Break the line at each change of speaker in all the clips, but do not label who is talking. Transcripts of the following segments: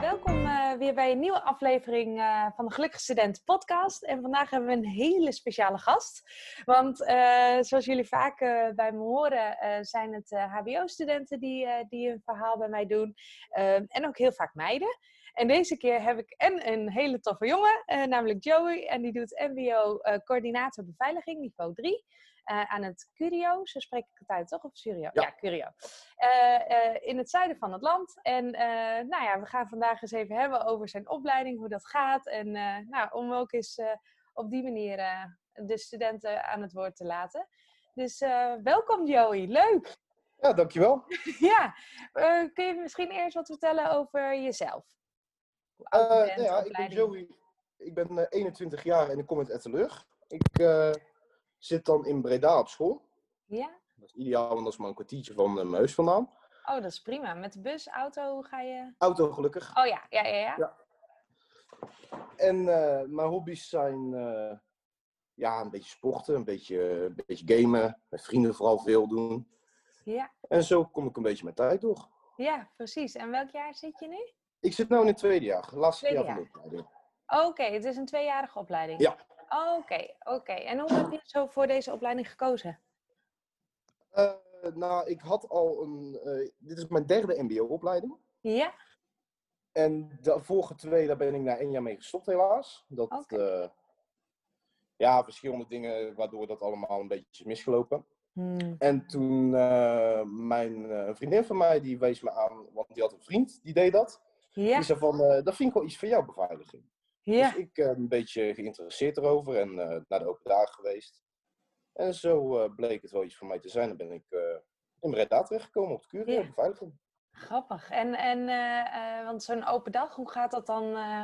Welkom eh, weer bij een nieuwe aflevering eh, van de Gelukkige Student Podcast. En vandaag hebben we een hele speciale gast. Want eh, zoals jullie vaak eh, bij me horen, eh, zijn het eh, HBO-studenten die, eh, die hun verhaal bij mij doen. Ehm, en ook heel vaak meiden. En deze keer heb ik en een hele toffe jongen, eh, namelijk Joey. En die doet MBO-coördinator eh, beveiliging, niveau 3. eh, aan het Curio, zo spreek ik het uit, toch? Of Curio?
Ja.
ja Curio eh, eh, in het zuiden van het land. En eh, nou ja, we gaan vandaag eens even hebben over zijn opleiding, hoe dat gaat. En eh, nou, om ook eens eh, op die manier eh, de studenten aan het woord te laten. Dus eh, welkom Joey, leuk!
Ja, dankjewel.
ja, eh, kun je misschien eerst wat vertellen over jezelf? Hoe oud je
Eh,
bent,
nou ja, ik ben
opleiding.
Joey. Ik ben eh, 21 jaar en ik kom uit Etteleur. Ik eh, zit dan in Breda op school.
Ja?
Dat is ideaal, want dat is maar een kwartiertje van eh, mijn huis vandaan.
Oh, dat is prima. Met de bus, auto hoe ga je...
Auto gelukkig.
Oh ja, ja, ja, ja.
Ja. En eh, mijn hobby's zijn eh, ja, een beetje sporten, een beetje, een beetje gamen. Met vrienden vooral veel doen.
Ja,
En zo kom ik een beetje mijn tijd door.
ja precies. En welk jaar zit je nu?
Ik zit nu in het tweede jaar. Laatste
Tweede
jaar van de
jaar.
opleiding.
Oké, het is een tweejarige opleiding.
Ja.
Oké, oké. En hoe heb je zo voor deze opleiding gekozen?
Eh, nou, ik had al een... eh, dit is mijn derde mbo-opleiding.
Ja,
En de vorige twee, daar ben ik na één jaar mee gestopt, helaas. Dat,
Oké.
eh, ja, verschillende dingen waardoor dat allemaal een beetje is misgelopen. En toen, eh, mijn eh, een vriendin van mij, die wees me aan, want die had een vriend, die deed dat.
ja,
Die zei van, eh, dat vind ik wel iets voor jouw beveiliging.
ja.
Dus ik eh, een beetje geïnteresseerd erover en eh, naar de open dagen geweest. En zo eh, bleek het wel iets voor mij te zijn. Dan ben ik eh in Breda terechtgekomen op de Curie,
Ja.
beveiliging.
Grappig. En, en eh, eh, want zo'n open dag, hoe gaat dat dan? eh,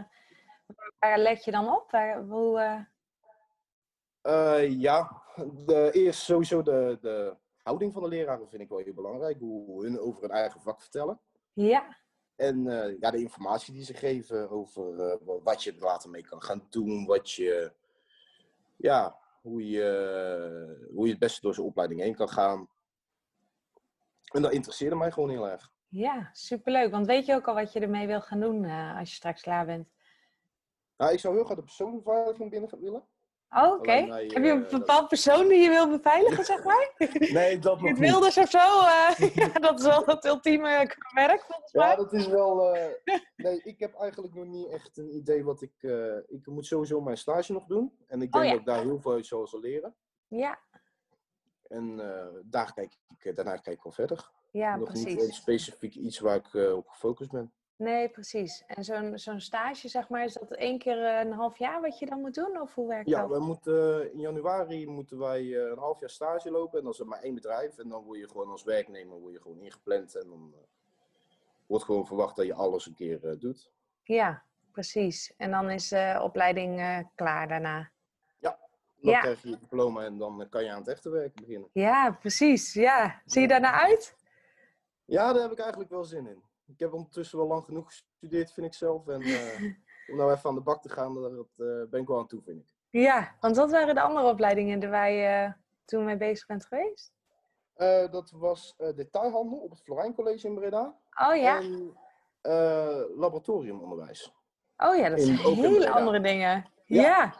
waar let je dan op? Waar, hoe, eh,
Eh, ja, de, eerst sowieso de, de houding van de leraren vind ik wel heel belangrijk. Hoe hun over hun eigen vak vertellen.
ja,
En eh, ja, de informatie die ze geven over eh, wa- wat je er later mee kan gaan doen. Wat je, ja, hoe je, eh, hoe je het beste door zijn opleiding heen kan gaan. En dat interesseerde mij gewoon heel erg.
ja, superleuk. Want weet je ook al wat je ermee wil gaan doen eh, als je straks klaar bent?
Nou, ik zou heel graag de persoonlijke beveiliging binnen gaan willen.
Oh, Oké.
Alleen wij,
Heb je een
eh, dat-
bepaald persoon die je wil beveiligen, zeg maar?
Nee, dat
Dit Wilders of zo? eh, ja, dat is wel het ultieme werk, volgens mij.
Ja, dat is wel. eh, nee, ik heb eigenlijk nog niet echt een idee wat ik. eh, ik moet sowieso mijn stage nog doen. En ik
Oh,
denk
ja.
dat ik daar heel veel uit zal zal leren.
Ja,
En eh, daar kijk ik, daarna kijk ik wel verder.
ja
nog
precies.
niet eh, specifiek iets waar ik eh, op gefocust ben.
Nee, precies. En zo'n zo'n stage, zeg maar, is dat één keer eh, een half jaar wat je dan moet doen? Of hoe werkt
Ja,
dat?
we moeten, eh, in januari moeten wij eh, een half jaar stage lopen. En dan is het maar één bedrijf. En dan word je gewoon als werknemer word je gewoon ingepland. En dan eh, wordt gewoon verwacht dat je alles een keer eh, doet.
Ja, precies. En dan is de opleiding eh, klaar daarna.
Dan
Ja.
krijg je je diploma en dan eh, kan je aan het echte werk beginnen.
Ja, precies. Ja. Zie je daarna uit?
Ja, daar heb ik eigenlijk wel zin in. Ik heb ondertussen wel lang genoeg gestudeerd, vind ik zelf. En eh, om nou even aan de bak te gaan, daar dat, eh, ben ik wel aan toe, vind ik.
Ja, want wat waren de andere opleidingen waar je eh, toen mee bezig bent geweest?
Eh, dat was eh, detailhandel op het Florijn College in Breda.
Oh ja.
En eh, laboratoriumonderwijs.
Oh ja, dat
in-
zijn
ook in
hele
Breda.
andere dingen. Ja.
Ja.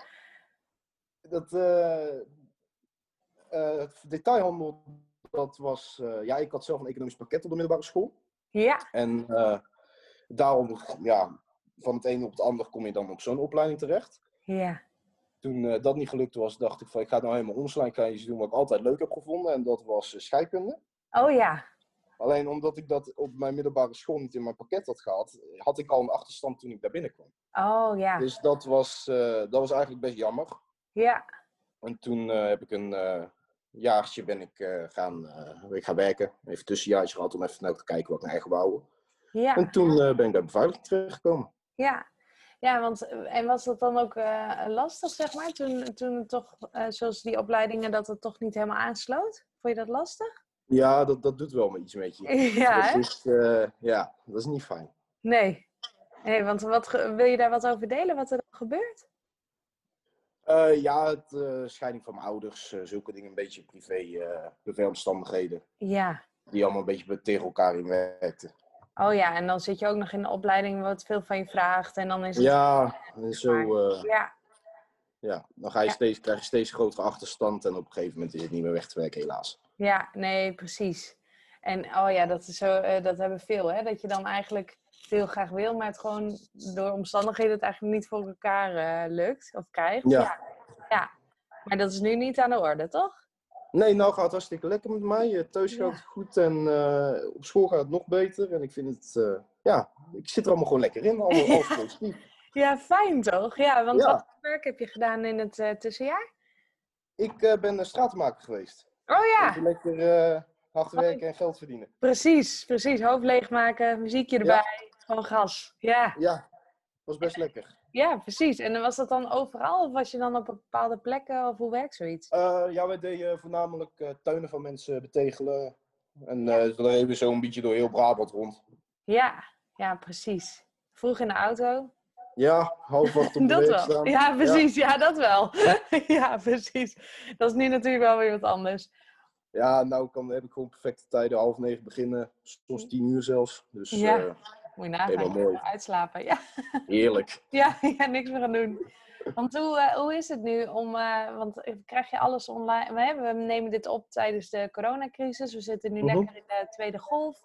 Dat, eh, eh, het detailhandel, dat was... eh, ja, ik had zelf een economisch pakket op de middelbare school.
Ja.
En eh, daarom, ja, van het een op het ander kom je dan op zo'n opleiding terecht.
Ja.
toen eh, dat niet gelukt was, dacht ik van ik ga nou helemaal omslaan kan je iets doen wat ik altijd leuk heb gevonden. En dat was eh, scheikunde.
Oh ja.
Alleen omdat ik dat op mijn middelbare school niet in mijn pakket had gehad, had ik al een achterstand toen ik daar binnenkwam.
Oh ja.
Dus dat was, eh, dat was eigenlijk best jammer.
Ja.
En toen eh, heb ik een eh, jaartje ben ik, eh, gaan, eh, ben ik gaan werken. Even een tussenjaartje gehad om even snel te kijken wat ik mijn eigen wou.
Ah. Ja.
En toen eh, ben ik bij beveiliging terechtgekomen.
Ja, ja want eh, en was dat dan ook eh, lastig, zeg maar, toen, toen het toch, eh, zoals die opleidingen, dat het toch niet helemaal aansloot? Vond je dat lastig?
Ja, dat, dat doet wel me iets met je.
Ja, hè?
dat is, eh, ja, dat is niet fijn.
Nee. Nee, want wat, ge- wil je daar wat over delen, wat er dan gebeurt?
Eh, ja, het, eh, scheiding van mijn ouders, eh, zulke dingen, een beetje privé, eh, privéomstandigheden.
Ja.
Die allemaal een beetje tegen elkaar in werkten.
Oh ja, en dan zit je ook nog in de opleiding wat veel van je vraagt. En dan is het...
Ja, en zo, eh,
Ja,
ja. dan ga je
Ja.
steeds, krijg je steeds grotere achterstand en op een gegeven moment is het niet meer weg te werken, helaas.
ja, nee, precies. En oh ja, dat, is zo, eh, dat hebben veel, hè? Dat je dan eigenlijk veel graag wil, maar het gewoon door omstandigheden het eigenlijk niet voor elkaar eh, lukt of krijgt.
Ja.
ja. Ja. Maar dat is nu niet aan de orde, toch?
Nee, nou gaat het hartstikke lekker met mij. Eh, Thuis
Ja.
gaat het goed en eh, op school gaat het nog beter. En ik vind het, eh, ja, ik zit er allemaal gewoon lekker in. Allemaal
Ja.
alles positief.
Ja, fijn toch? Ja, want
Ja.
wat voor werk heb je gedaan in het eh, tussenjaar?
Ik eh, ben een straatmaker geweest.
Oh ja,
Even lekker eh, hard werken en geld verdienen.
precies, precies. Hoofd leegmaken, muziekje erbij, gewoon gas. Ja.
Ja, was best lekker.
ja, precies. En dan was dat dan overal of was je dan op een bepaalde plekken of hoe werkt zoiets?
Eh, ja, wij deden voornamelijk eh, tuinen van mensen betegelen. En eh dan reden we zo'n beetje door heel Brabant rond.
Ja, ja, precies. Vroeg in de auto.
Ja, half acht op de
Dat wel.
weegschaal.
Ja, precies. Ja, dat wel. ja, precies. Dat is nu natuurlijk wel weer wat anders.
Ja, nou kan, heb ik gewoon perfecte tijden. Half negen beginnen, soms tien uur zelfs. Dus
Ja.
eh,
Moet je nagaan.
Helemaal mooi.
Uitslapen. Ja,
heerlijk.
ja, ja, niks meer aan doen. Want hoe, eh, hoe is het nu om... eh, want krijg je alles online... We, hebben- we nemen dit op tijdens de coronacrisis. We zitten nu
Mhm.
lekker in de tweede golf.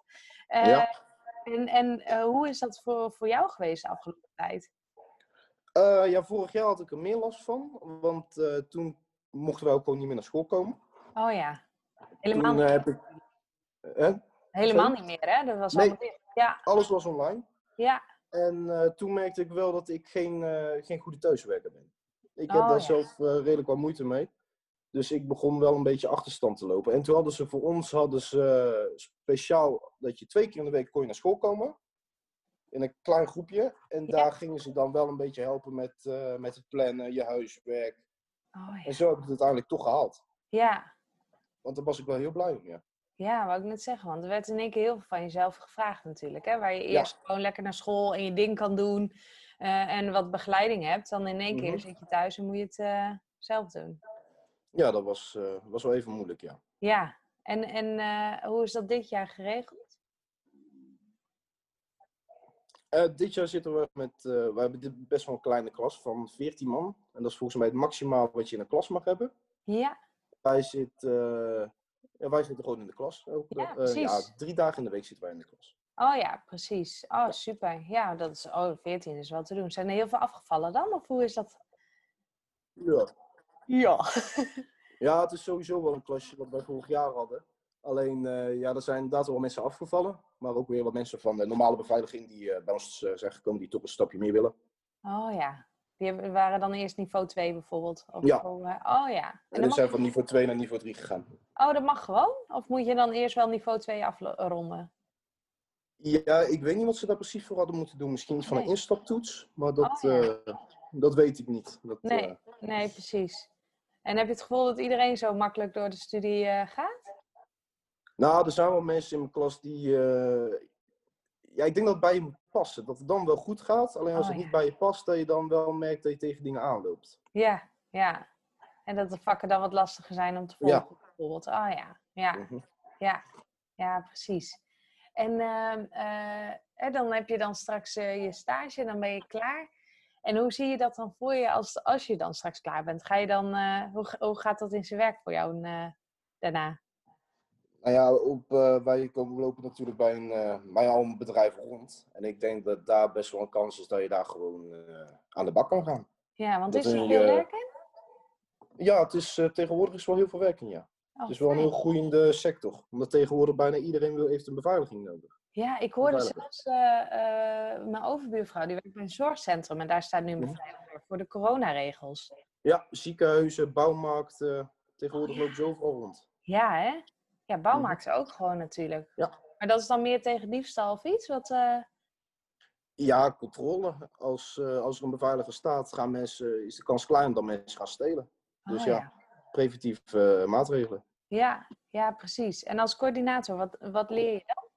Eh,
Ja.
En, en eh, hoe is dat voor, voor jou geweest de afgelopen tijd?
Eh, ja, vorig jaar had ik er meer last van. Want eh, toen mochten we ook gewoon niet meer naar school komen.
Oh ja. Helemaal,
Toen eh, heb ik... Hè?
helemaal niet meer, hè? Dat was
Nee.
allemaal dicht. Ja,
Alles was online.
ja.
En eh, toen merkte ik wel dat ik geen, eh, geen goede thuiswerker ben. Ik heb
Oh,
daar
ja.
zelf eh, redelijk wat moeite mee. Dus ik begon wel een beetje achterstand te lopen. En toen hadden ze voor ons hadden ze, eh, speciaal dat je twee keer in de week kon je naar school komen. In een klein groepje. En
Ja.
daar gingen ze dan wel een beetje helpen met, eh, met het plannen, je huiswerk.
Oh, ja.
En zo heb ik het uiteindelijk toch gehaald.
ja.
Want daar was ik wel heel blij om, ja.
Ja, wou ik net zeggen, want er werd in één keer heel veel van jezelf gevraagd natuurlijk. Hè? Waar je
Ja.
eerst gewoon lekker naar school en je ding kan doen eh, en wat begeleiding hebt. Dan in één
Mhm.
keer zit je thuis en moet je het eh, zelf doen.
Ja, dat was, eh, was wel even moeilijk, ja.
Ja, en, en eh, hoe is dat dit jaar geregeld?
Eh, dit jaar zitten we met, eh, we hebben dit best wel een kleine klas van 14 man. En dat is volgens mij het maximaal wat je in een klas mag hebben.
Ja,
Wij, zit, eh, ja, wij zitten gewoon in de klas. Elke,
Ja,
eh,
precies.
drie dagen in de week zitten wij in de klas.
oh ja, precies. Oh, super. Ja, dat is, oh, 14 is wel te doen. Zijn er heel veel afgevallen dan, of hoe is dat?
Ja.
Ja.
ja, het is sowieso wel een klasje wat wij vorig jaar hadden. Alleen, eh, ja, er zijn inderdaad wel mensen afgevallen. Maar ook weer wat mensen van de normale beveiliging die eh, bij ons eh, zijn gekomen, die toch een stapje meer willen.
Oh ja, die hebben- waren dan eerst niveau 2 bijvoorbeeld. Of
Ja.
niveau, eh, oh ja. En
En
dan
we
mag-
zijn van niveau 2 naar niveau 3 gegaan.
Oh, dat mag gewoon? Of moet je dan eerst wel niveau 2 afronden?
Ja, ik weet niet wat ze daar precies voor hadden moeten doen. Misschien iets van een
Nee.
instaptoets, maar dat,
Oh, ja.
eh, dat weet ik niet. Dat,
Nee.
eh,
Nee, precies. En heb je het gevoel dat iedereen zo makkelijk door de studie eh, gaat?
nou, er zijn wel mensen in mijn klas die. eh, ja, ik denk dat het bij je moet passen. Dat het dan wel goed gaat. Alleen als
Oh,
het
ja.
niet bij je past, dat je dan wel merkt dat je tegen dingen aanloopt.
Ja, ja. En dat de vakken dan wat lastiger zijn om te volgen,
Ja.
bijvoorbeeld. Oh ja, ja,
Mhm.
ja. Ja, precies. En ehm, eh, hè, dan heb je dan straks eh, je stage en dan ben je klaar. En hoe zie je dat dan voor je als, als je dan straks klaar bent? Ga je dan, eh, hoe, ga- hoe gaat dat in zijn werk voor jou eh, daarna?
Nou ja, op, eh, wij komen, lopen natuurlijk bij een, eh, bij al een bedrijf rond. En ik denk dat daar best wel een kans is dat je daar gewoon eh, aan de bak kan gaan.
Ja, want
Dat eh,
is er
wil
veel
je-
werk in?
Ja, het is, eh, tegenwoordig is wel heel veel werk in, ja.
Oh,
Het is Dus wel een
fijn.
heel groeiende sector. Omdat tegenwoordig bijna iedereen wil, heeft een beveiliging nodig.
Ja, ik hoorde
Beveiliger.
zelfs eh, eh, mijn overbuurvrouw, die werkt bij een zorgcentrum en daar staat nu een
Mhm.
beveiliger voor de coronaregels.
Ja, ziekenhuizen, bouwmarkten. Tegenwoordig
Oh, ja.
lopen ze overal rond.
Ja, hè? Ja, bouwmarkt ook gewoon natuurlijk.
Mhm. Ja.
Maar dat is dan meer tegen diefstal of iets? Wat, eh,
Ja, controle. Als, eh, als er een beveiliger staat, gaan mensen, is de kans klein dat mensen gaan stelen. Dus
oh
ja, preventieve eh, maatregelen.
ja. ja. Ja, precies. En als coördinator, wat, wat leer je dan?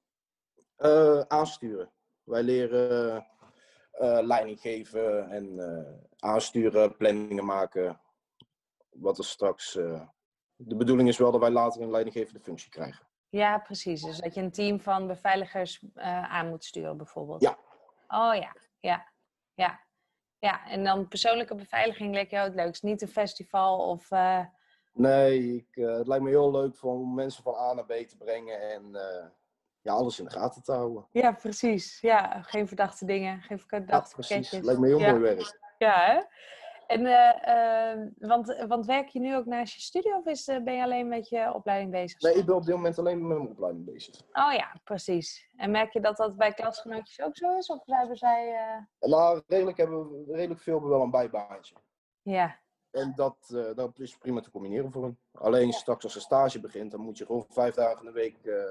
Eh, aansturen. Wij leren eh, eh, leiding geven en eh, aansturen, planningen maken. Wat er straks. eh, de bedoeling is wel dat wij later een leidinggevende functie krijgen.
Ja, precies. Dus dat je een team van beveiligers eh, aan moet sturen, bijvoorbeeld.
Ja.
Oh ja, ja, ja. Ja, en dan persoonlijke beveiliging leek jou het leukst. Niet een festival of... eh,
Nee, ik, eh, het lijkt me heel leuk om mensen van A naar B te brengen en eh, ja, alles in de gaten te houden.
Ja, precies. Ja, geen verdachte dingen, geen
Ja,
verdachte
precies.
pakketjes.
Lijkt me heel
ja.
mooi werk.
Ja, hè? En, eh, eh, want, want werk je nu ook naast je studie of is, eh, ben je alleen met je opleiding bezig?
Nee, ik ben op dit moment alleen met mijn opleiding bezig.
Oh ja, precies. En merk je dat dat bij klasgenootjes ook zo is? Of hebben zij... eh,
Nou, redelijk, hebben we, redelijk veel hebben wel een bijbaantje.
Ja,
En dat, eh, dat is prima te combineren voor hen. Alleen straks als een stage begint, dan moet je gewoon vijf dagen in de week eh,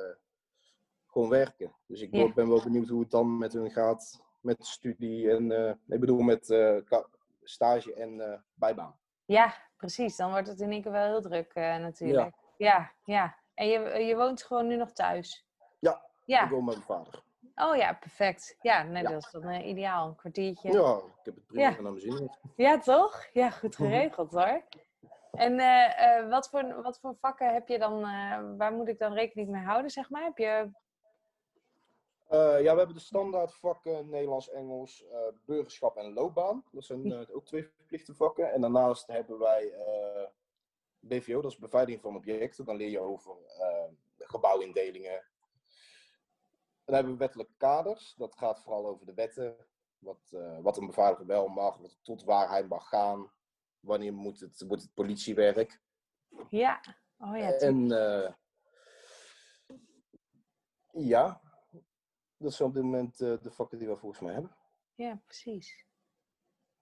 gewoon werken. Dus ik
Ja.
word- ben wel benieuwd hoe het dan met hun gaat, met studie en, eh, ik bedoel met eh, ka- stage en eh, bijbaan.
ja, precies. Dan wordt het in één keer wel heel druk eh, natuurlijk. Ja, ja. En je, je woont gewoon nu nog thuis?
Ja, Ik
Ja,
woon met mijn vader.
oh ja, perfect. Ja, nee,
Ja.
dat is dan eh, ideaal. Een kwartiertje.
Ja, ik heb het prima
Ja.
naar mijn zin.
Ja, toch? Ja, goed
Mhm.
geregeld hoor. En eh, eh, wat, voor, wat voor vakken heb je dan, eh, waar moet ik dan rekening mee houden, zeg maar? Heb je,
Eh, ja, we hebben de standaardvakken Nederlands, Engels, eh, burgerschap en loopbaan. Dat zijn eh, ook twee verplichte vakken. En daarnaast hebben wij eh, BVO, dat is beveiliging van objecten. Dan leer je over eh, gebouwindelingen. Dan hebben we wettelijke kaders. Dat gaat vooral over de wetten. Wat, eh, wat een bevaardiger wel mag, wat- tot waar hij mag gaan. Wanneer moet het, moet het politiewerk.
ja, oh ja, tuurlijk.
En eh, ja, dat zijn op dit moment eh, de vakken die we volgens mij hebben.
ja, precies.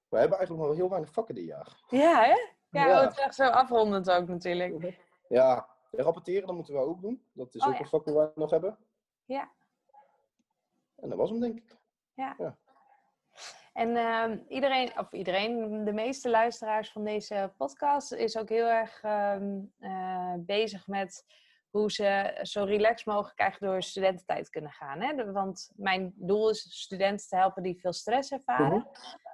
We hebben eigenlijk nog heel weinig vakken dit jaar.
Ja, hè? Ja,
Ja. Mhm.
oh, het is echt zo afrondend ook natuurlijk.
Ja, rapporteren dat moeten we ook doen. Dat is
Oh
ook
ja.
een vak die we nog hebben.
Ja.
En dat was hem denk ik.
En ehm, iedereen, of iedereen, de meeste luisteraars van deze podcast is ook heel erg ehm, eh, bezig met hoe ze zo relaxed mogelijk eigenlijk door studententijd kunnen gaan. Hè? De- Want mijn doel is studenten te helpen die veel stress
Mhm.
ervaren.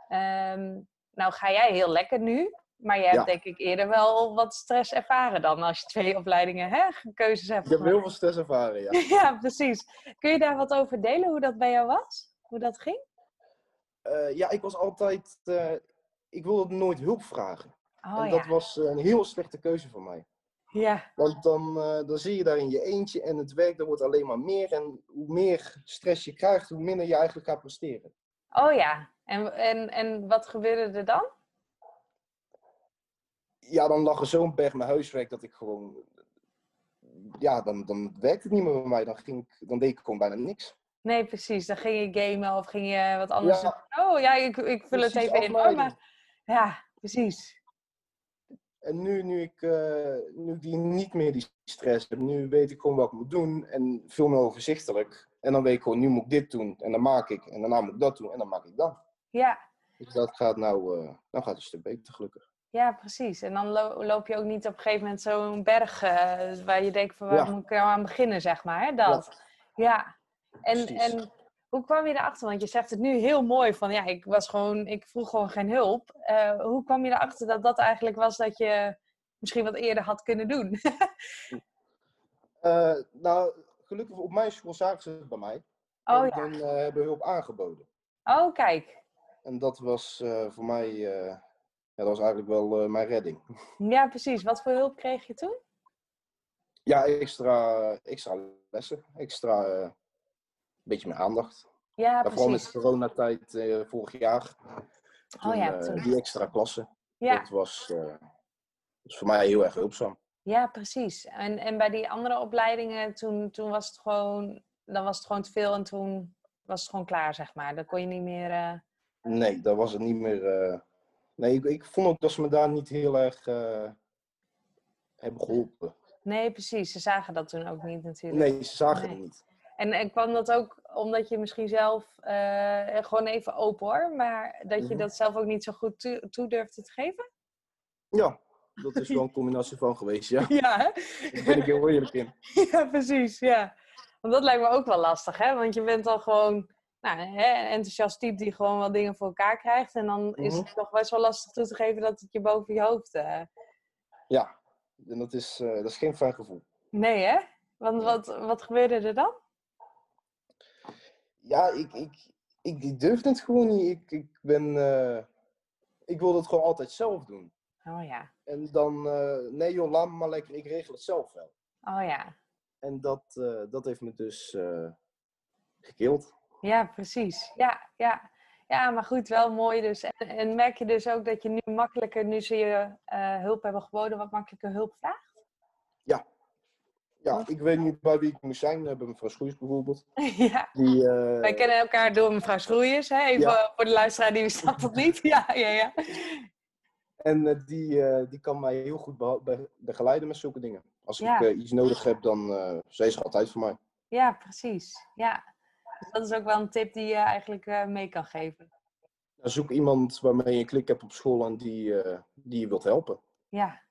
Ehm, nou ga jij heel lekker nu, maar jij hebt
Ja.
denk ik eerder wel wat stress ervaren dan als je twee opleidingen, hè, keuzes hebt.
Ik heb
gemaakt.
heel veel stress ervaren, ja.
ja, precies. Kun je daar wat over delen, hoe dat bij jou was? Hoe dat ging?
Eh, ja, ik was altijd... eh, ik wilde nooit hulp vragen.
Oh
en
ja.
dat was eh, een heel slechte keuze voor mij.
ja.
Want dan, eh, dan zie je daar in je eentje en het werk dat wordt alleen maar meer. En hoe meer stress je krijgt, hoe minder je eigenlijk gaat presteren.
Oh ja, en, en, en wat gebeurde er dan?
Ja, dan lag er zo'n berg mijn huiswerk dat ik gewoon... Ja, dan, dan werkte het niet meer bij mij. Dan, ging ik, dan deed ik gewoon bijna niks.
Nee, precies. Dan ging je gamen of ging je wat anders
Ja.
doen. Oh ja, ik, ik vul het
Precies,
even in. hoor,
afleiding.
maar... Ja, precies.
En nu, nu ik eh, nu ik die niet meer die stress heb, nu weet ik gewoon wat ik moet doen. En veel meer overzichtelijk. En dan weet ik gewoon, nu moet ik dit doen. En dan maak ik. En daarna moet ik dat doen. En dan maak ik dat.
Ja,
Dus dat gaat nou, eh, nou gaat het een stuk beter gelukkig.
ja precies. En dan lo- loop je ook niet op een gegeven moment zo'n berg eh, waar je denkt van waar
Ja.
moet ik nou aan beginnen, zeg maar. Hè? Dat. Ja. En,
Precies.
en hoe kwam je erachter? Want je zegt het nu heel mooi van ja, ik, was gewoon, ik vroeg gewoon geen hulp. Eh, hoe kwam je erachter dat dat eigenlijk was dat je misschien wat eerder had kunnen doen?
Eh, nou, gelukkig op mijn school zagen ze het bij mij.
Oh
en
ja.
dan eh, hebben we hulp aangeboden.
Oh, kijk.
En dat was eh, voor mij, eh, ja, dat was eigenlijk wel eh, mijn redding.
Ja, precies. Wat voor hulp kreeg je toen?
Ja, extra, extra lessen, extra, eh, een beetje meer aandacht.
Ja,
Maar vooral met
precies.
de coronatijd eh, vorig jaar, toen,
Oh ja,
eh,
toen.
die extra klassen,
Ja,
dat was, eh, was voor mij heel erg hulpzaam.
ja precies. En, en bij die andere opleidingen, toen, toen was het gewoon, dan was het gewoon te veel en toen was het gewoon klaar, zeg maar. Dan kon je niet meer. eh,
Nee, dat was het niet meer. eh, nee, ik, ik vond ook dat ze me daar niet heel erg eh, hebben geholpen.
Nee, precies. Ze zagen dat toen ook niet natuurlijk.
Nee, ze zagen
Nee.
het niet.
En, en kwam dat ook omdat je misschien zelf eh, gewoon even open hoor, maar dat je
Mhm.
dat zelf ook niet zo goed toe, toe durfde te geven?
Ja, dat is wel een combinatie van geweest, ja.
Ja, hè?
Daar ben ik heel eerlijk in.
ja, precies. Ja. Want dat lijkt me ook wel lastig, hè? Want je bent dan gewoon nou, hè, een enthousiast type die gewoon wel dingen voor elkaar krijgt. En dan is het toch best wel lastig toe te geven dat het je boven je hoofd. eh,
Ja, en dat is, eh, dat is geen fijn gevoel.
Nee, hè? Want wat, wat gebeurde er dan?
Ja, ik, ik, ik, ik durf het gewoon niet. Ik, ik ben... eh, ik wil dat gewoon altijd zelf doen.
Oh ja.
En dan, eh, nee joh, laat me maar lekker, ik regel het zelf wel.
Oh ja.
En dat, eh, dat heeft me dus eh gekild.
Ja, precies. Ja, ja. ja, maar goed, wel mooi dus. En, en merk je dus ook dat je nu makkelijker, nu ze je eh, hulp hebben geboden, wat makkelijker hulp vraagt?
Ja, ik weet niet bij wie ik moest zijn. Eh, Bij mevrouw Schoes bijvoorbeeld.
ja.
Die, eh,
Wij kennen elkaar door mevrouw Schroeiers, hè? Even voor de luisteraar die bestaat dat niet. Ja, ja, ja.
En eh, die, eh, die kan mij heel goed beha- be- begeleiden met zulke dingen. Als
Ja.
ik eh, iets nodig heb, dan eh zij is er altijd voor mij.
Ja, precies. Ja. Dus dat is ook wel een tip die je eigenlijk eh, mee kan geven.
Nou, zoek iemand waarmee je een klik hebt op school en die, eh, die je wilt helpen.
Ja.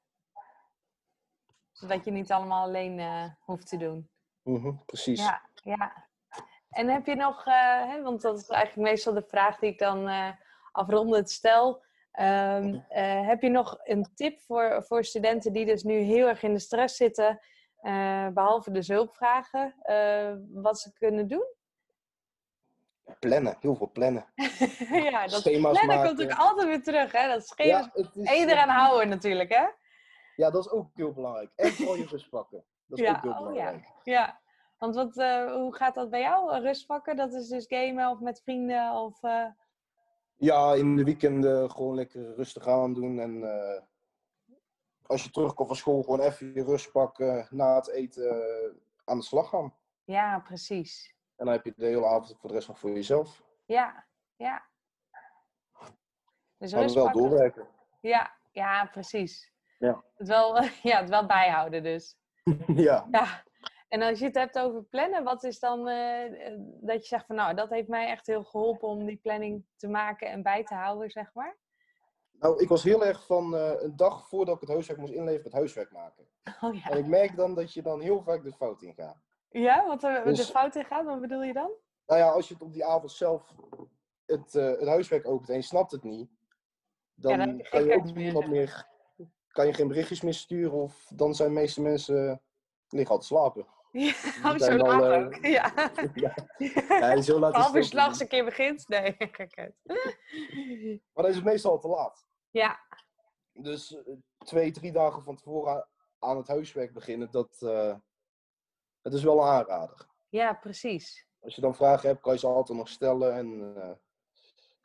Zodat je niet allemaal alleen eh, hoeft te doen.
Mhm, precies.
Ja, ja. En heb je nog, eh, hè, want dat is eigenlijk meestal de vraag die ik dan eh afrondend stel. Ehm, eh, heb je nog een tip voor, voor studenten die dus nu heel erg in de stress zitten, eh, behalve dus hulpvragen, eh, wat ze kunnen doen?
Plannen, heel veel plannen.
ja, dat
Schema's
plannen
maken.
komt ook altijd weer terug, hè? Dat schema.
Ja, het is, eh,
En je eraan houden natuurlijk, hè?
ja, dat is ook heel belangrijk. En vooral je rust pakken. Dat is
Ja,
ook heel
oh ja.
belangrijk.
Ja. Want wat, eh, hoe gaat dat bij jou? Rust pakken? Dat is dus gamen of met vrienden of... eh,
Ja, in de weekenden gewoon lekker rustig aan doen. En eh, als je terugkomt van school, gewoon even je rust pakken. Na het eten eh, aan de slag gaan.
Ja, precies.
En dan heb je de hele avond voor de rest nog voor jezelf.
Ja, ja. Dus
Maar
rust
wel
pakken.
doorwerken.
Ja, ja, precies.
Ja.
Het wel, ja, het wel bijhouden dus.
ja.
Ja. En als je het hebt over plannen, wat is dan eh, eh, dat je zegt van nou, dat heeft mij echt heel geholpen om die planning te maken en bij te houden, zeg maar?
Nou, ik was heel erg van eh, een dag voordat ik het huiswerk moest inleveren, het huiswerk maken.
Oh
En
ja.
ik merk dan dat je dan heel vaak de fout ingaat.
Ja, wat er de
Dus-
fout in gaat, wat bedoel je dan?
Nou ja, als je het op die avond zelf het, eh, het huiswerk opent en je snapt het niet, dan,
dan heb je
kan
geen
je ook
keus meer,
niemand
zeg.
meer, kan je geen berichtjes meer sturen of dan zijn de meeste mensen eh, liggen al te slapen.
Ja,
Die
oh, zo
zijn al,
laat
eh,
ook. Ja.
ja, ja, zo laat is
Half
het
uur
ook
s'nachts
niet.
een keer begint. Nee, gekheid.
Maar dan is het meestal al te laat.
Ja,
Dus eh, twee, drie dagen van tevoren aan- aan het huiswerk beginnen, dat, eh dat is wel een aanrader.
ja, precies.
Als je dan vragen hebt, kan je ze altijd nog stellen en eh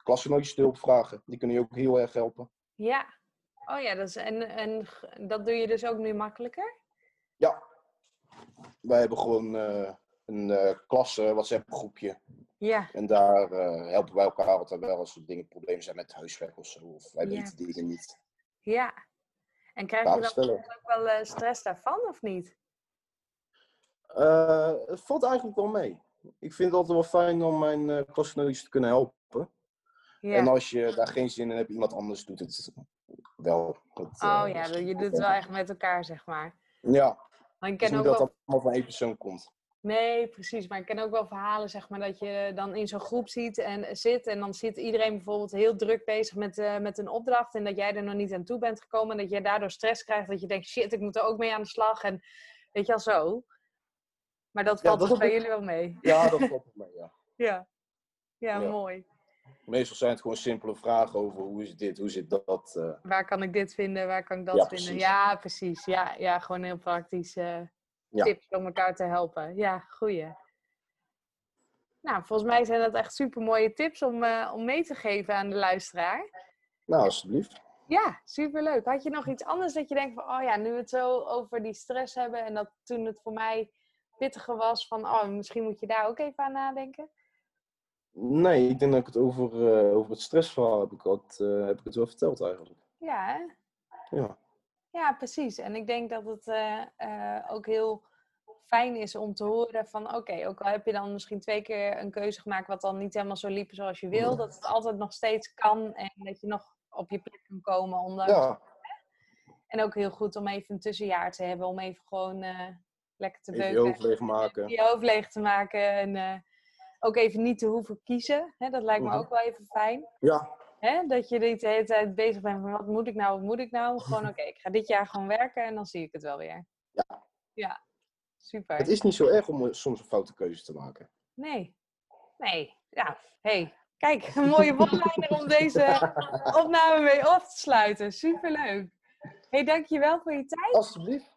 klasgenootjes de hulp vragen. Die kunnen je ook heel erg helpen.
Ja. Oh ja, dat is, en, en g- dat doe je dus ook nu makkelijker?
Wij hebben gewoon eh, een eh klas eh, WhatsApp groepje.
Ja.
En daar eh, helpen wij elkaar altijd wel als er dingen problemen zijn met huiswerk of zo. Of wij
Ja,
weten dingen niet.
Ja. En krijg je
Vragen
dan
stellen.
ook wel eh, stress daarvan, of niet?
Eh, het valt eigenlijk wel mee. Ik vind het altijd wel fijn om mijn eh klasgenootjes te kunnen helpen.
Ja.
En als je daar geen zin in hebt, iemand anders doet het wel. Dat, eh,
oh ja,
is-
je doet het wel echt met elkaar, zeg maar.
Ja,
Maar ik
het is
ken ook
niet Dus dat
wel...
dat allemaal van één persoon komt.
Nee, precies. Maar ik ken ook wel verhalen, zeg maar, dat je dan in zo'n groep ziet en, eh, zit. En dan zit iedereen bijvoorbeeld heel druk bezig met, eh, met een opdracht. En dat jij er nog niet aan toe bent gekomen. En dat jij daardoor stress krijgt. Dat je denkt, shit, ik moet er ook mee aan de slag. En weet je al zo. Maar dat valt
dat
dus bij
heb ik-
jullie wel mee.
Ja, dat valt wel mee, ja.
Ja. Ja,
Ja.
mooi.
Meestal zijn het gewoon simpele vragen over hoe is dit, hoe zit dat. eh.
Waar kan ik dit vinden? Waar kan ik dat
Ja,
vinden?
precies.
Ja, precies. Ja, ja, gewoon heel praktische eh,
Ja.
tips om elkaar te helpen. Ja, goeie. Nou, volgens mij zijn dat echt super mooie tips om, eh, om mee te geven aan de luisteraar.
Nou, alsjeblieft.
Ja, superleuk. Had je nog iets anders dat je denkt van, oh ja, nu we het zo over die stress hebben en dat toen het voor mij pittiger was van, oh, misschien moet je daar ook even aan nadenken?
Nee, ik denk dat ik het over, eh, over het stressverhaal heb ik, het, eh, heb ik het wel verteld eigenlijk.
Ja, hè?
Ja.
Ja, precies. En ik denk dat het eh, eh, ook heel fijn is om te horen van oké, ook al heb je dan misschien twee keer een keuze gemaakt wat dan niet helemaal zo liep zoals je wil, dat het altijd nog steeds kan en dat je nog op je plek kan komen. Ondanks...
ja,
En ook heel goed om even een tussenjaar te hebben, om even gewoon eh, lekker te
Even je
beuken.
hoofd leegmaken.
Je hoofd leeg te maken en eh, ook even niet te hoeven kiezen. Hè? Dat lijkt me
Mhm.
ook wel even fijn.
Ja,
Hè? Dat je niet de hele tijd bezig bent van wat moet ik nou, wat moet ik nou. Gewoon oké, ik ga dit jaar gewoon werken en dan zie ik het wel weer.
Ja.
Ja, super.
het is niet zo erg om eh, soms een foute keuze te maken.
Nee. Nee. Ja, hey. Kijk, een mooie one-liner om deze opname mee af te sluiten. Superleuk. hey, dankjewel voor je tijd.
Alsjeblieft.